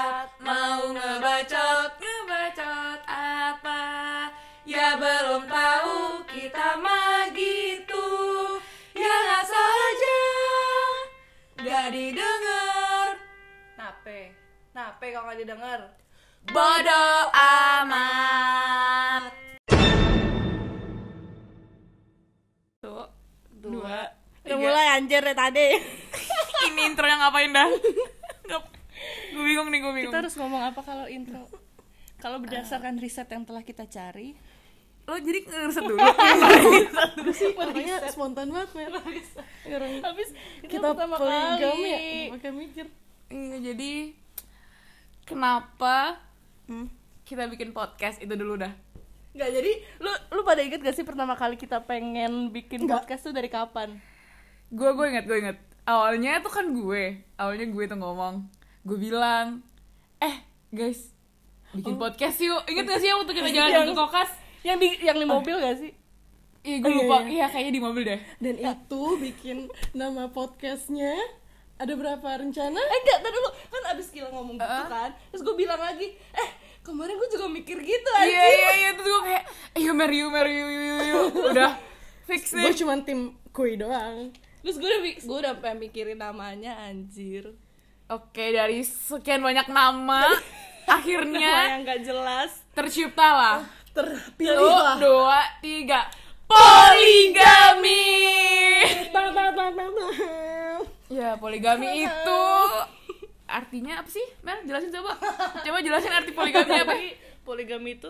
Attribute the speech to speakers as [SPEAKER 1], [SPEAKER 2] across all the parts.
[SPEAKER 1] Ya gitu. Ya
[SPEAKER 2] kalau nggak didengar
[SPEAKER 1] Bodoh amat. Tuh, dua,
[SPEAKER 2] udah
[SPEAKER 1] tiga.
[SPEAKER 2] mulai anjir dari tadi
[SPEAKER 1] Ini intro yang ngapain dah? gue bingung nih, gue bingung.
[SPEAKER 3] Kita harus ngomong apa kalau intro? Kalau berdasarkan riset yang telah kita cari,
[SPEAKER 1] Lo jadi ngeruset dulu.
[SPEAKER 2] makanya spontan banget men
[SPEAKER 3] habis
[SPEAKER 2] kita poligam ya pakai mikir
[SPEAKER 1] Iya, jadi kenapa kita bikin podcast itu dulu dah?
[SPEAKER 2] nggak jadi
[SPEAKER 3] lu lu pada inget gak sih pertama kali kita pengen bikin podcast tuh dari kapan?
[SPEAKER 1] Gue gue inget, gue inget. Awalnya tuh kan gue, awalnya gue tuh ngomong, gue bilang, eh guys, bikin podcast yuk. Ingat gak sih yang waktu kita jalan ke
[SPEAKER 3] Yang-
[SPEAKER 1] kokas?
[SPEAKER 3] Yang di yang di mobil gak sih?
[SPEAKER 1] Iya, gue
[SPEAKER 2] Oh, iya,
[SPEAKER 1] lupa.
[SPEAKER 2] iya.
[SPEAKER 1] Iya, kayaknya di mobil deh.
[SPEAKER 2] dan itu bikin nama podcastnya ada berapa rencana
[SPEAKER 3] Eh enggak, tadi dulu kan abis gila ngomong gitu
[SPEAKER 1] Uh-uh.
[SPEAKER 3] kan, terus gue bilang lagi, eh kemarin gue juga mikir gitu
[SPEAKER 1] Iya,
[SPEAKER 3] anjir.
[SPEAKER 1] iya, iya. Terus gue kayak, ayo Meriu, Meriu, yuk, yuk, yuk. Udah, fix nih.
[SPEAKER 2] gue cuma tim kui doang
[SPEAKER 3] Terus gue udah, mi- gua udah pengen mikirin namanya anjir.
[SPEAKER 1] Oke, dari sekian banyak nama,
[SPEAKER 3] Nama
[SPEAKER 1] akhirnya
[SPEAKER 3] yang gak jelas. Oh.
[SPEAKER 1] terciptalah.
[SPEAKER 2] terpilih
[SPEAKER 1] Satu,
[SPEAKER 2] lah
[SPEAKER 1] dua, tiga. Poligami!
[SPEAKER 2] Tang, tang, tang, tang, tang.
[SPEAKER 1] Ya, poligami itu artinya apa sih? Mel, jelasin coba. Coba jelasin arti poligami apa.
[SPEAKER 3] Tapi poligami itu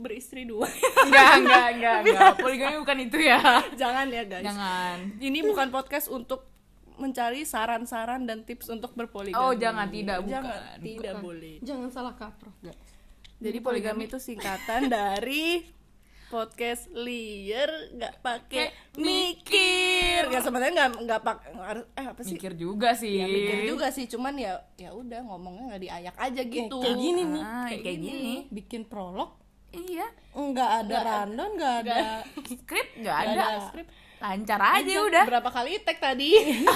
[SPEAKER 3] beristri dua.
[SPEAKER 1] Enggak, enggak, enggak, enggak. Poligami bukan itu ya.
[SPEAKER 3] Jangan ya guys.
[SPEAKER 1] Jangan.
[SPEAKER 3] Ini bukan podcast untuk mencari saran-saran dan tips untuk berpoligami.
[SPEAKER 1] Oh, jangan tidak, bukan.
[SPEAKER 3] Jangan, tidak
[SPEAKER 1] Bukan.
[SPEAKER 3] boleh.
[SPEAKER 2] jangan salah kaprah guys
[SPEAKER 3] Jadi poligami itu singkatan dari podcast liar nggak pakai mikir. Nggak sebenarnya nggak nggak pakai eh apa sih?
[SPEAKER 1] Mikir juga sih.
[SPEAKER 3] Ya, mikir juga sih, cuman ya ya udah ngomongnya nggak diayak aja gitu.
[SPEAKER 2] kayak gini nih
[SPEAKER 1] Ah, kayak, gini.
[SPEAKER 2] bikin prolog
[SPEAKER 1] Iya.
[SPEAKER 2] nggak ada rundown nggak ada
[SPEAKER 1] Skrip nggak
[SPEAKER 3] Nggak
[SPEAKER 1] ada.
[SPEAKER 3] ada skrip.
[SPEAKER 1] Lancar aja Ya udah.
[SPEAKER 3] Berapa kali tag tadi?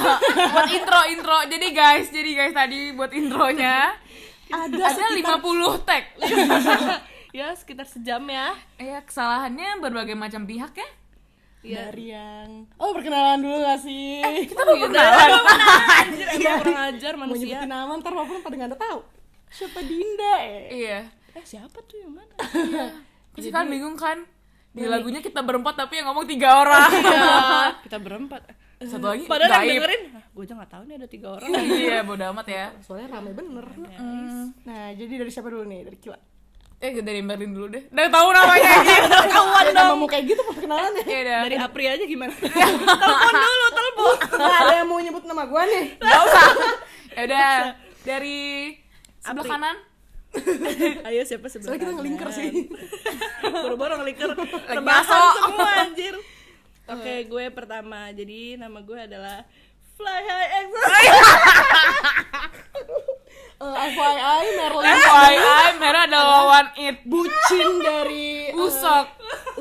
[SPEAKER 1] buat intro intro. Jadi guys, jadi guys tadi buat intronya
[SPEAKER 2] ada
[SPEAKER 1] ada 50 tag.
[SPEAKER 3] ya sekitar sejam ya.
[SPEAKER 1] Iya, kesalahannya berbagai macam pihak ya.
[SPEAKER 3] Ya.
[SPEAKER 2] dari yang oh perkenalan dulu gak sih
[SPEAKER 1] Kita
[SPEAKER 3] Oh,
[SPEAKER 1] mau
[SPEAKER 3] iya.
[SPEAKER 1] perkenalan.
[SPEAKER 3] Anjir, emang kurang ajar
[SPEAKER 2] Eh, mau
[SPEAKER 3] manusia.
[SPEAKER 2] nyebutin nama ntar walaupun pada nggak ada tahu siapa Dinda eh
[SPEAKER 1] Iya.
[SPEAKER 3] Eh, siapa tuh yang mana?
[SPEAKER 1] Terus kan bingung kan? Di lagunya kita berempat tapi yang ngomong tiga orang.
[SPEAKER 3] kita berempat.
[SPEAKER 1] Satu lagi
[SPEAKER 3] Padahal yang
[SPEAKER 1] gaib.
[SPEAKER 3] dengerin, gue aja nggak tahu nih ada tiga orang.
[SPEAKER 1] Iya, bodo amat ya.
[SPEAKER 2] soalnya rame bener nah jadi dari siapa dulu nih dari Kila
[SPEAKER 1] Eh, dari Merlin dulu deh. Udah tahu namanya aja.
[SPEAKER 2] kawan dong mau kayak gitu perkenalannya
[SPEAKER 1] Iya udah.
[SPEAKER 3] Dari Apri aja gimana? telepon dulu, telepon.
[SPEAKER 2] nggak ada yang mau nyebut nama gue nih
[SPEAKER 1] Gak usah. Ya udah dari sebelah
[SPEAKER 3] Apri.
[SPEAKER 1] kanan.
[SPEAKER 3] Ayo siapa sebelah?
[SPEAKER 2] soalnya kita
[SPEAKER 3] kanan?
[SPEAKER 2] ngelingker sih
[SPEAKER 3] Boro-boro ngelingker.
[SPEAKER 1] ngaso.
[SPEAKER 3] Terbahan semua anjir. Oke, gue pertama. Jadi nama gue adalah Fly High Exo.
[SPEAKER 2] Eh, FYI Merlin
[SPEAKER 1] FYI, merah ada lawan it.
[SPEAKER 2] bucin dari eh,
[SPEAKER 1] Usok.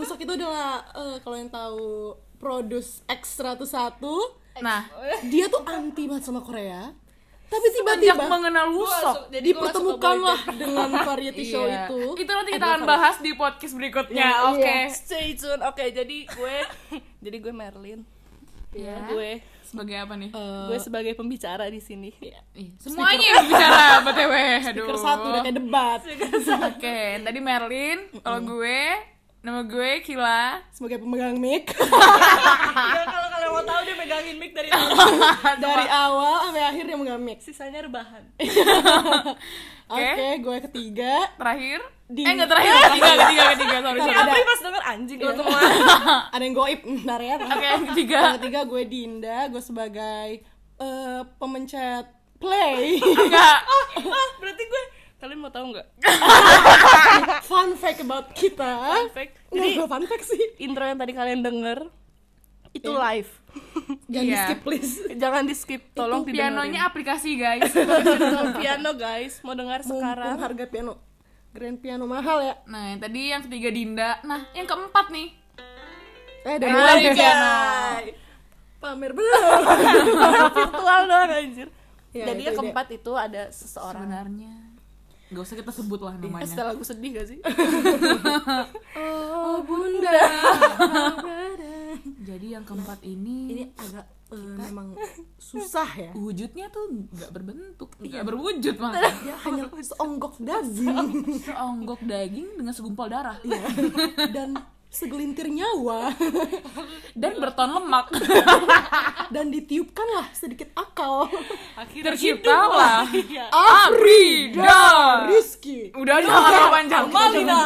[SPEAKER 2] Usok itu adalah eh, kalau yang tahu produce X101 Eh,
[SPEAKER 1] Nah,
[SPEAKER 2] dia tuh anti banget sama Korea tapi
[SPEAKER 1] sejak
[SPEAKER 2] tiba-tiba
[SPEAKER 1] mengenal Usok.
[SPEAKER 3] Jadi gue nggak suka
[SPEAKER 2] dipertemukanlah dengan variety show
[SPEAKER 1] Iya.
[SPEAKER 2] ya. itu Eh,
[SPEAKER 1] Itu nanti kita akan bahas di podcast berikutnya.
[SPEAKER 2] Iya,
[SPEAKER 1] Oke.
[SPEAKER 2] iya.
[SPEAKER 3] Stay tune. Oke, jadi gue jadi gue Merlin.
[SPEAKER 1] Iya.
[SPEAKER 3] Gue
[SPEAKER 1] Sebagai apa nih?
[SPEAKER 3] gue sebagai pembicara di sini.
[SPEAKER 1] Ih, Semuanya yang bicara BTW. Aduh.
[SPEAKER 2] Stiker satu udah kayak debat
[SPEAKER 1] Oke, tadi Merlin, kalau gue nama gue Kila.
[SPEAKER 2] sebagai pemegang mic
[SPEAKER 3] Ya, kalau kalian mau tahu dia megangin mic dari tadi.
[SPEAKER 2] dari awal sampai akhir dia megang mic
[SPEAKER 3] sisanya rebahan.
[SPEAKER 2] oke gue ketiga
[SPEAKER 1] Terakhir?
[SPEAKER 2] Di-
[SPEAKER 1] Eh enggak terakhir, ketiga, ketiga, ketiga. Sorry,
[SPEAKER 3] Si
[SPEAKER 1] sorry.
[SPEAKER 3] Apri pas denger anjing lo semua.
[SPEAKER 2] ada yang goib ntar ya
[SPEAKER 1] Oke, yang ketiga.
[SPEAKER 2] yang ketiga gue Dinda gue sebagai eh, pemencet play
[SPEAKER 1] Enggak.
[SPEAKER 2] Oh,
[SPEAKER 3] Ah, berarti gue kalian mau tahu nggak?
[SPEAKER 2] fun fact about kita
[SPEAKER 3] Perfect.
[SPEAKER 2] Nggak,
[SPEAKER 3] Jadi
[SPEAKER 2] gak fun fact sih
[SPEAKER 3] intro yang tadi kalian denger itu live.
[SPEAKER 2] Jangan
[SPEAKER 1] Iya.
[SPEAKER 2] di skip please
[SPEAKER 3] Jangan di skip, tolong
[SPEAKER 1] Itu
[SPEAKER 3] didengerin.
[SPEAKER 1] pianonya aplikasi, guys.
[SPEAKER 3] Virtual piano guys, mau dengar
[SPEAKER 2] Sekarang
[SPEAKER 3] sekarang.
[SPEAKER 2] harga piano Grand piano mahal ya
[SPEAKER 1] Nah, yang tadi yang ketiga Dinda. Nah, yang keempat nih.
[SPEAKER 2] Eh udah
[SPEAKER 1] Eh,
[SPEAKER 2] mulai
[SPEAKER 1] mulai,
[SPEAKER 2] deh.
[SPEAKER 1] guys.
[SPEAKER 2] Pamer belum
[SPEAKER 3] virtual doang anjir.
[SPEAKER 2] Ya,
[SPEAKER 3] Jadi
[SPEAKER 2] itu
[SPEAKER 3] yang
[SPEAKER 2] dia.
[SPEAKER 3] keempat Iya, itu ada seseorang.
[SPEAKER 1] Sebenarnya Gak usah kita sebut
[SPEAKER 2] Iya,
[SPEAKER 1] lah
[SPEAKER 3] Eh,
[SPEAKER 1] namanya.
[SPEAKER 3] setelah lagu sedih gak sih?
[SPEAKER 2] Oh bunda
[SPEAKER 1] Jadi yang keempat ini,
[SPEAKER 2] ini agak eh, memang susah ya
[SPEAKER 1] wujudnya tuh nggak berbentuk,
[SPEAKER 2] Iya.
[SPEAKER 1] nggak berwujud malah.
[SPEAKER 2] dia hanya seonggok daging
[SPEAKER 1] Iya. Seonggok daging dengan segumpal darah
[SPEAKER 2] Iya. dan segelintir nyawa
[SPEAKER 1] dan berton lemak.
[SPEAKER 2] dan ditiupkanlah sedikit akal
[SPEAKER 4] akhirnya
[SPEAKER 1] Terciptalah
[SPEAKER 4] Iya.
[SPEAKER 1] gitu. Afrida.
[SPEAKER 2] Rizky
[SPEAKER 1] Udah dong agak panjang.
[SPEAKER 2] Malina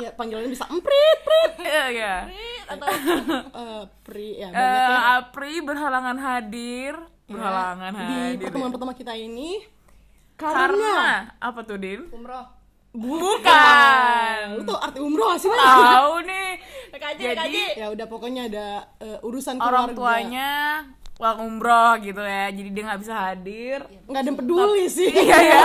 [SPEAKER 2] ya panggilannya bisa emprit prit
[SPEAKER 1] Iya,
[SPEAKER 2] ya.
[SPEAKER 1] Iya.
[SPEAKER 2] Eh, pri ya
[SPEAKER 1] Eh,
[SPEAKER 2] banyak ya
[SPEAKER 1] Apri berhalangan hadir, berhalangan
[SPEAKER 2] di
[SPEAKER 1] hadir.
[SPEAKER 2] pertemuan pertama kita ini karena,
[SPEAKER 1] nah, Karena apa tuh Din?
[SPEAKER 3] umroh
[SPEAKER 1] Bukan.
[SPEAKER 2] itu arti umroh sih Bang.
[SPEAKER 1] Tahu nih. Jadi
[SPEAKER 2] ya udah pokoknya ada eh, urusan keluarga
[SPEAKER 1] orang tuanya pulang umroh gitu ya. Jadi dia nggak bisa hadir.
[SPEAKER 2] nggak ada yang peduli sih
[SPEAKER 1] Iya ya.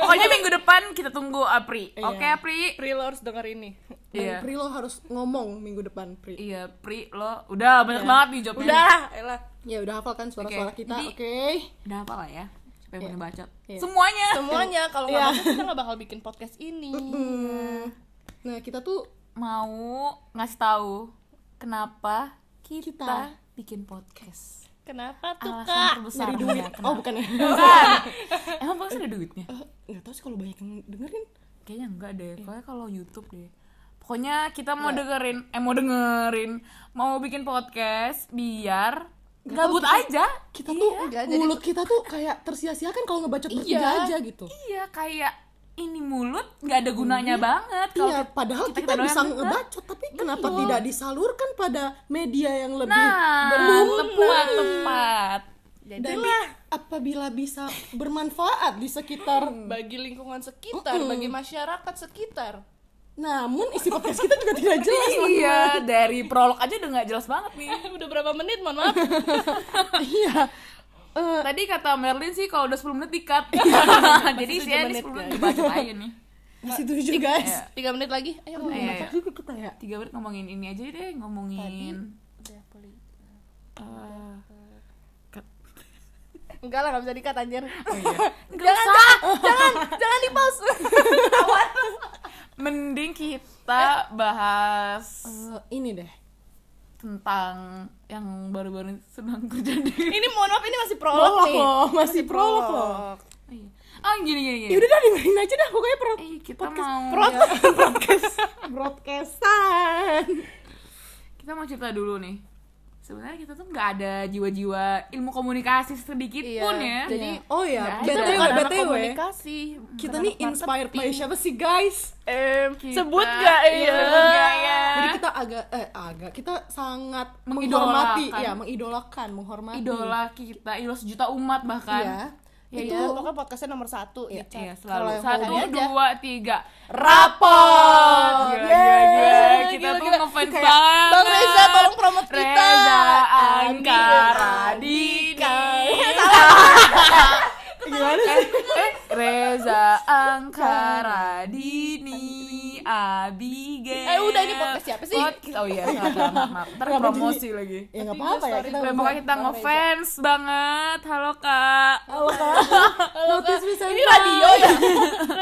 [SPEAKER 1] Pokoknya minggu depan kita tunggu Apri.
[SPEAKER 2] Iya.
[SPEAKER 1] Oke Apri.
[SPEAKER 3] Pri lo harus denger ini
[SPEAKER 2] Dan
[SPEAKER 1] Iya.
[SPEAKER 2] Pri lo harus ngomong minggu depan Pri
[SPEAKER 1] Iya, Pri lo udah banyak
[SPEAKER 2] Iya.
[SPEAKER 1] banget nih jawabnya.
[SPEAKER 3] udah elah
[SPEAKER 2] ya udah hafal kan suara-suara
[SPEAKER 1] Oke.
[SPEAKER 2] kita
[SPEAKER 1] Jadi-
[SPEAKER 2] oke
[SPEAKER 1] Udah apa lah ya? Siapa yang baca?
[SPEAKER 2] Iya.
[SPEAKER 1] Semuanya.
[SPEAKER 3] semuanya kalau
[SPEAKER 2] Iya.
[SPEAKER 3] nggak masuk kita nggak bakal bikin podcast ini
[SPEAKER 2] Hmm. nah kita tuh
[SPEAKER 1] Mau ngasih tahu kenapa kita,
[SPEAKER 2] Kita.
[SPEAKER 1] bikin podcast.
[SPEAKER 3] kenapa tuh kak
[SPEAKER 1] Alasan terbesar
[SPEAKER 2] nyari duit oh bukan ya
[SPEAKER 1] Emang podcast ada duitnya?
[SPEAKER 2] Eh, nggak tahu sih kalau banyak yang dengerin
[SPEAKER 1] Kayaknya enggak deh.
[SPEAKER 2] Iya.
[SPEAKER 1] Pokoknya kalau YouTube deh. Pokoknya kita mau dengerin, eh mau dengerin, mau bikin podcast biar gabut aja.
[SPEAKER 2] kita tuh
[SPEAKER 1] Iya,
[SPEAKER 3] Enggak, jadi-
[SPEAKER 2] mulut kita tuh kayak tersia-siakan kalau ngebacot bertiga
[SPEAKER 3] Iya.
[SPEAKER 2] aja gitu
[SPEAKER 1] Iya, kayak ini mulut nggak ada gunanya banget. Kalau
[SPEAKER 2] iya padahal kita,
[SPEAKER 1] kita doang
[SPEAKER 2] bisa
[SPEAKER 1] yang denger.
[SPEAKER 2] ngebacot tapi kenapa tidak disalurkan pada media yang lebih
[SPEAKER 1] Nah,
[SPEAKER 2] berguna?
[SPEAKER 1] tepat, tepat.
[SPEAKER 2] dan
[SPEAKER 3] jadilah
[SPEAKER 2] apabila bisa bermanfaat di sekitar
[SPEAKER 3] bagi lingkungan sekitar bagi masyarakat sekitar
[SPEAKER 2] namun isi podcast kita juga tidak jelas
[SPEAKER 1] Iya, dari prolog aja udah nggak jelas banget nih.
[SPEAKER 3] udah berapa menit mohon maaf
[SPEAKER 2] iya Eh,
[SPEAKER 1] Tadi kata Merlin sih kalau udah 10 menit dikat. Jadi isinya di
[SPEAKER 3] Iya, Masih tujuh menit,
[SPEAKER 1] 10
[SPEAKER 3] ya. guys.
[SPEAKER 1] menit dibaca aja nih.
[SPEAKER 2] masih tujuh guys
[SPEAKER 3] tiga menit lagi ayo
[SPEAKER 2] Aduh,
[SPEAKER 1] Iya,
[SPEAKER 2] makan dulu kita ya
[SPEAKER 1] 3 menit ngomongin ini aja deh, ngomongin
[SPEAKER 3] udah poli
[SPEAKER 1] eh, kat-
[SPEAKER 3] Ah. enggak lah nggak bisa dikat anjir
[SPEAKER 1] Nggak usah.
[SPEAKER 3] jangan jangan di pause
[SPEAKER 1] Mending kita bahas
[SPEAKER 2] Eh, ini deh
[SPEAKER 1] tentang yang baru-baru ini sedang terjadi.
[SPEAKER 3] ini mohon maaf ini masih prolog
[SPEAKER 2] prolog
[SPEAKER 3] nih
[SPEAKER 2] loh masih prolog loh
[SPEAKER 1] Oh, iya. Oh, gini gini gini.
[SPEAKER 2] ya udah dah dengerin aja dah pokoknya pro
[SPEAKER 1] Eh, kita mau
[SPEAKER 2] broadcastan
[SPEAKER 1] kita mau cerita dulu nih sebenarnya kita tuh nggak ada jiwa-jiwa ilmu komunikasi sedikit
[SPEAKER 3] Iya,
[SPEAKER 1] pun ya
[SPEAKER 3] jadi-
[SPEAKER 2] oh
[SPEAKER 1] Nggak ada.
[SPEAKER 2] ya btw
[SPEAKER 3] Bukan anak
[SPEAKER 2] btw
[SPEAKER 3] komunikasi
[SPEAKER 2] kita nih inspired
[SPEAKER 1] Iya.
[SPEAKER 2] by siapa sih guys
[SPEAKER 3] Em,
[SPEAKER 1] Kita-
[SPEAKER 3] sebut gak
[SPEAKER 1] Iya,
[SPEAKER 3] ya
[SPEAKER 1] sebut nggak ya?
[SPEAKER 2] jadi kita agak eh agak kita sangat
[SPEAKER 1] Mengidolakan.
[SPEAKER 2] menghormati ya mengidolakan menghormati
[SPEAKER 1] idola kita idola sejuta umat bahkan
[SPEAKER 2] Iya.
[SPEAKER 1] ya,
[SPEAKER 3] itu
[SPEAKER 1] itu
[SPEAKER 3] pokoknya podcastnya nomor satu gitu.
[SPEAKER 2] Iya,
[SPEAKER 3] di chat.
[SPEAKER 1] Iya, selalu
[SPEAKER 2] Kalau yang
[SPEAKER 1] satu
[SPEAKER 3] kalian aja.
[SPEAKER 1] dua tiga
[SPEAKER 2] rapor
[SPEAKER 1] Gila, gila, gila. kita
[SPEAKER 3] gila,
[SPEAKER 1] tuh
[SPEAKER 3] gila.
[SPEAKER 1] ngefans
[SPEAKER 3] Kayak,
[SPEAKER 1] banget
[SPEAKER 3] Bang Reza, tolong promote kita.
[SPEAKER 1] Reza
[SPEAKER 3] Andi
[SPEAKER 1] Angkara Dika
[SPEAKER 3] Radika.
[SPEAKER 2] gimana sih
[SPEAKER 1] eh, Reza Angkara Dini Abigail
[SPEAKER 3] Eh, udah, ini podcast siapa sih?
[SPEAKER 1] Podcast- oh iya salah, salah, maaf, maaf. Ntar
[SPEAKER 2] Kenapa
[SPEAKER 1] promosi
[SPEAKER 2] jadi-
[SPEAKER 1] lagi
[SPEAKER 2] ya nggak apa-apa ya kita
[SPEAKER 1] Pokoknya kita
[SPEAKER 3] Bang
[SPEAKER 1] ngefans banget Halo kak
[SPEAKER 2] halo kak
[SPEAKER 3] Halo,
[SPEAKER 2] notice
[SPEAKER 3] Kak.
[SPEAKER 2] bisa
[SPEAKER 3] ini radio ya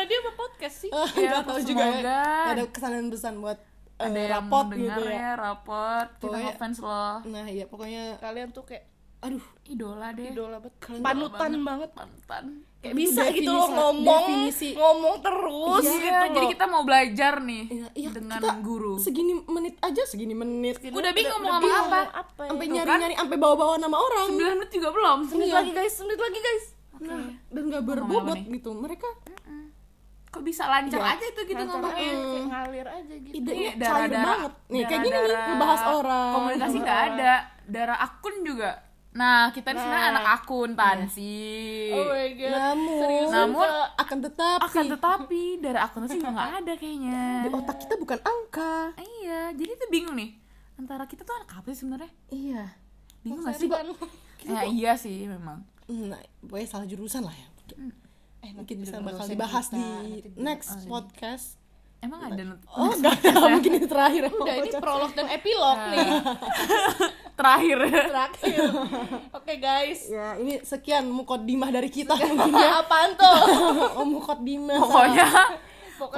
[SPEAKER 3] radio apa podcast sih
[SPEAKER 2] Eh,
[SPEAKER 1] Ya,
[SPEAKER 2] nggak tahu juga ya.
[SPEAKER 1] semoga.
[SPEAKER 2] ada kesan pesan buat eh,
[SPEAKER 1] Ada yang
[SPEAKER 2] rapot
[SPEAKER 1] dengar
[SPEAKER 2] gitu ya
[SPEAKER 1] ya rapot Kita
[SPEAKER 2] Pokoknya-
[SPEAKER 1] ngefans loh
[SPEAKER 2] nah iya pokoknya
[SPEAKER 3] kalian tuh kayak
[SPEAKER 2] aduh
[SPEAKER 1] Idola deh
[SPEAKER 3] idola banget panutan banget
[SPEAKER 1] Mantan
[SPEAKER 3] kayak
[SPEAKER 2] Itu
[SPEAKER 3] bisa gitu
[SPEAKER 2] definisi-
[SPEAKER 3] loh ngomong
[SPEAKER 2] definisi.
[SPEAKER 3] ngomong terus
[SPEAKER 1] Iya,
[SPEAKER 3] gitu loh.
[SPEAKER 1] jadi kita mau belajar nih
[SPEAKER 2] Iya, iya,
[SPEAKER 1] dengan
[SPEAKER 2] kita
[SPEAKER 1] guru.
[SPEAKER 2] segini menit aja segini menit
[SPEAKER 1] Udah bingung mau
[SPEAKER 3] bingung
[SPEAKER 1] ngomong apa.
[SPEAKER 3] mau apa ya.
[SPEAKER 2] sampai
[SPEAKER 1] Tuh
[SPEAKER 2] nyari
[SPEAKER 1] kan.
[SPEAKER 2] nyari sampai bawa bawa nama orang
[SPEAKER 1] 9 menit juga belum.
[SPEAKER 3] Menit
[SPEAKER 2] Iya.
[SPEAKER 3] lagi guys menit lagi guys
[SPEAKER 2] nah, dan nggak
[SPEAKER 1] ngomong apa
[SPEAKER 2] berbobot
[SPEAKER 1] nih?
[SPEAKER 2] gitu mereka
[SPEAKER 1] Kok bisa lancar
[SPEAKER 2] Iya.
[SPEAKER 1] aja itu gitu
[SPEAKER 3] Lancar
[SPEAKER 1] ngomong.
[SPEAKER 3] aja, eh, kayak ngalir aja gitu
[SPEAKER 2] idenya
[SPEAKER 1] Iya,
[SPEAKER 2] cair
[SPEAKER 1] darah-darah-
[SPEAKER 2] banget nih kayak gini nih
[SPEAKER 1] darah-darah
[SPEAKER 2] ngebahas orang
[SPEAKER 1] Komunikasi nggak
[SPEAKER 3] Ngebahas
[SPEAKER 1] ada. Darah akun juga. Nah, kita di sebenarnya
[SPEAKER 3] Nah.
[SPEAKER 1] anak akuntansi.
[SPEAKER 3] oh my god
[SPEAKER 2] namun
[SPEAKER 3] Seriusan,
[SPEAKER 1] Namun,
[SPEAKER 3] Kak.
[SPEAKER 2] akan tetap
[SPEAKER 1] Akan tetapi darah akuntansi juga nggak ada kayaknya.
[SPEAKER 2] di otak kita bukan angka
[SPEAKER 1] Iya, jadi tuh bingung nih. Antara kita tuh anak apa sih sebenarnya?
[SPEAKER 2] iya
[SPEAKER 1] Bingung nggak sih?
[SPEAKER 3] Seriusan.
[SPEAKER 1] Eh, iya sih memang.
[SPEAKER 2] nah pokoknya salah jurusan lah ya
[SPEAKER 3] eh nanti
[SPEAKER 2] mungkin bisa
[SPEAKER 3] juga
[SPEAKER 2] bakal
[SPEAKER 3] dosen
[SPEAKER 2] dibahas
[SPEAKER 3] kita,
[SPEAKER 2] di
[SPEAKER 3] nanti di-
[SPEAKER 2] next podcast
[SPEAKER 1] Emang ada not-
[SPEAKER 2] oh enggak mungkin ini terakhir ya,
[SPEAKER 3] udah ini
[SPEAKER 2] Bocah.
[SPEAKER 3] prolog dan epilog nih
[SPEAKER 1] terakhir.
[SPEAKER 3] terakhir oke guys
[SPEAKER 2] ya ini sekian mukodimah dari kita mungkin ya.
[SPEAKER 3] apaan tuh
[SPEAKER 2] oh mukodimah
[SPEAKER 1] Pokoknya
[SPEAKER 3] pokoknya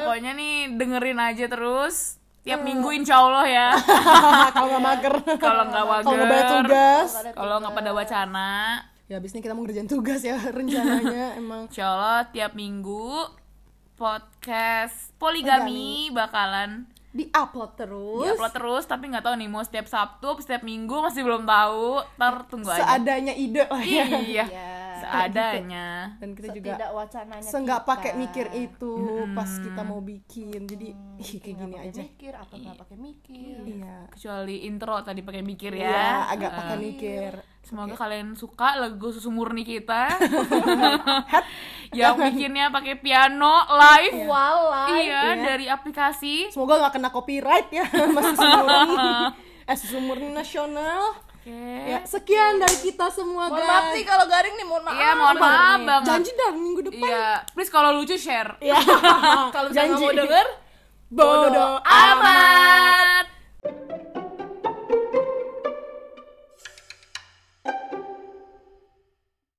[SPEAKER 1] Pokoknya nih dengerin aja terus tiap minggu insya Allah ya
[SPEAKER 2] kalau nggak mager
[SPEAKER 1] kalau nggak
[SPEAKER 2] kalau nggak banyak
[SPEAKER 1] wager
[SPEAKER 2] tugas
[SPEAKER 1] kalau nggak pada wacana
[SPEAKER 2] ya abis ini kita mau ngerjain tugas ya rencananya emang
[SPEAKER 1] insya Allah tiap minggu podcast poligami bakalan
[SPEAKER 2] di upload terus
[SPEAKER 1] upload terus tapi nggak tahu nih mau setiap Sabtu setiap Minggu masih belum tahu ntar tunggu aja
[SPEAKER 2] seadanya ide lah ya
[SPEAKER 1] iya
[SPEAKER 4] Iya.
[SPEAKER 1] seadanya
[SPEAKER 2] dan kita juga
[SPEAKER 4] tidak wacananya
[SPEAKER 2] se nggak
[SPEAKER 4] kita.
[SPEAKER 2] pakai mikir itu
[SPEAKER 3] Hmm.
[SPEAKER 2] pas kita mau bikin jadi ih, kayak gini
[SPEAKER 4] Nggak
[SPEAKER 2] aja
[SPEAKER 4] pakai mikir apa nggak pakai mikir
[SPEAKER 2] iya
[SPEAKER 1] kecuali intro tadi pakai mikir
[SPEAKER 3] Iya.
[SPEAKER 1] ya,
[SPEAKER 2] ya agak
[SPEAKER 3] Hmm.
[SPEAKER 2] pakai mikir
[SPEAKER 1] Semoga kalian suka lagu susu murni kita. yang bikinnya pakai piano live.
[SPEAKER 4] walai
[SPEAKER 1] Iya, dari aplikasi.
[SPEAKER 2] semoga nggak kena copyright ya mas susu murni eh susu murni nasional
[SPEAKER 1] Oke.
[SPEAKER 2] ya sekian dari kita semua
[SPEAKER 3] Eh. Mohon maaf nih
[SPEAKER 2] guys
[SPEAKER 3] kalau garing nih, mohon maaf.
[SPEAKER 1] Iya, mohon maaf banget.
[SPEAKER 2] janji dah minggu depan
[SPEAKER 1] Iya, please kalau lucu share.
[SPEAKER 2] ya
[SPEAKER 3] Kalau misalnya nggak mau denger,
[SPEAKER 2] bodoh
[SPEAKER 3] amat.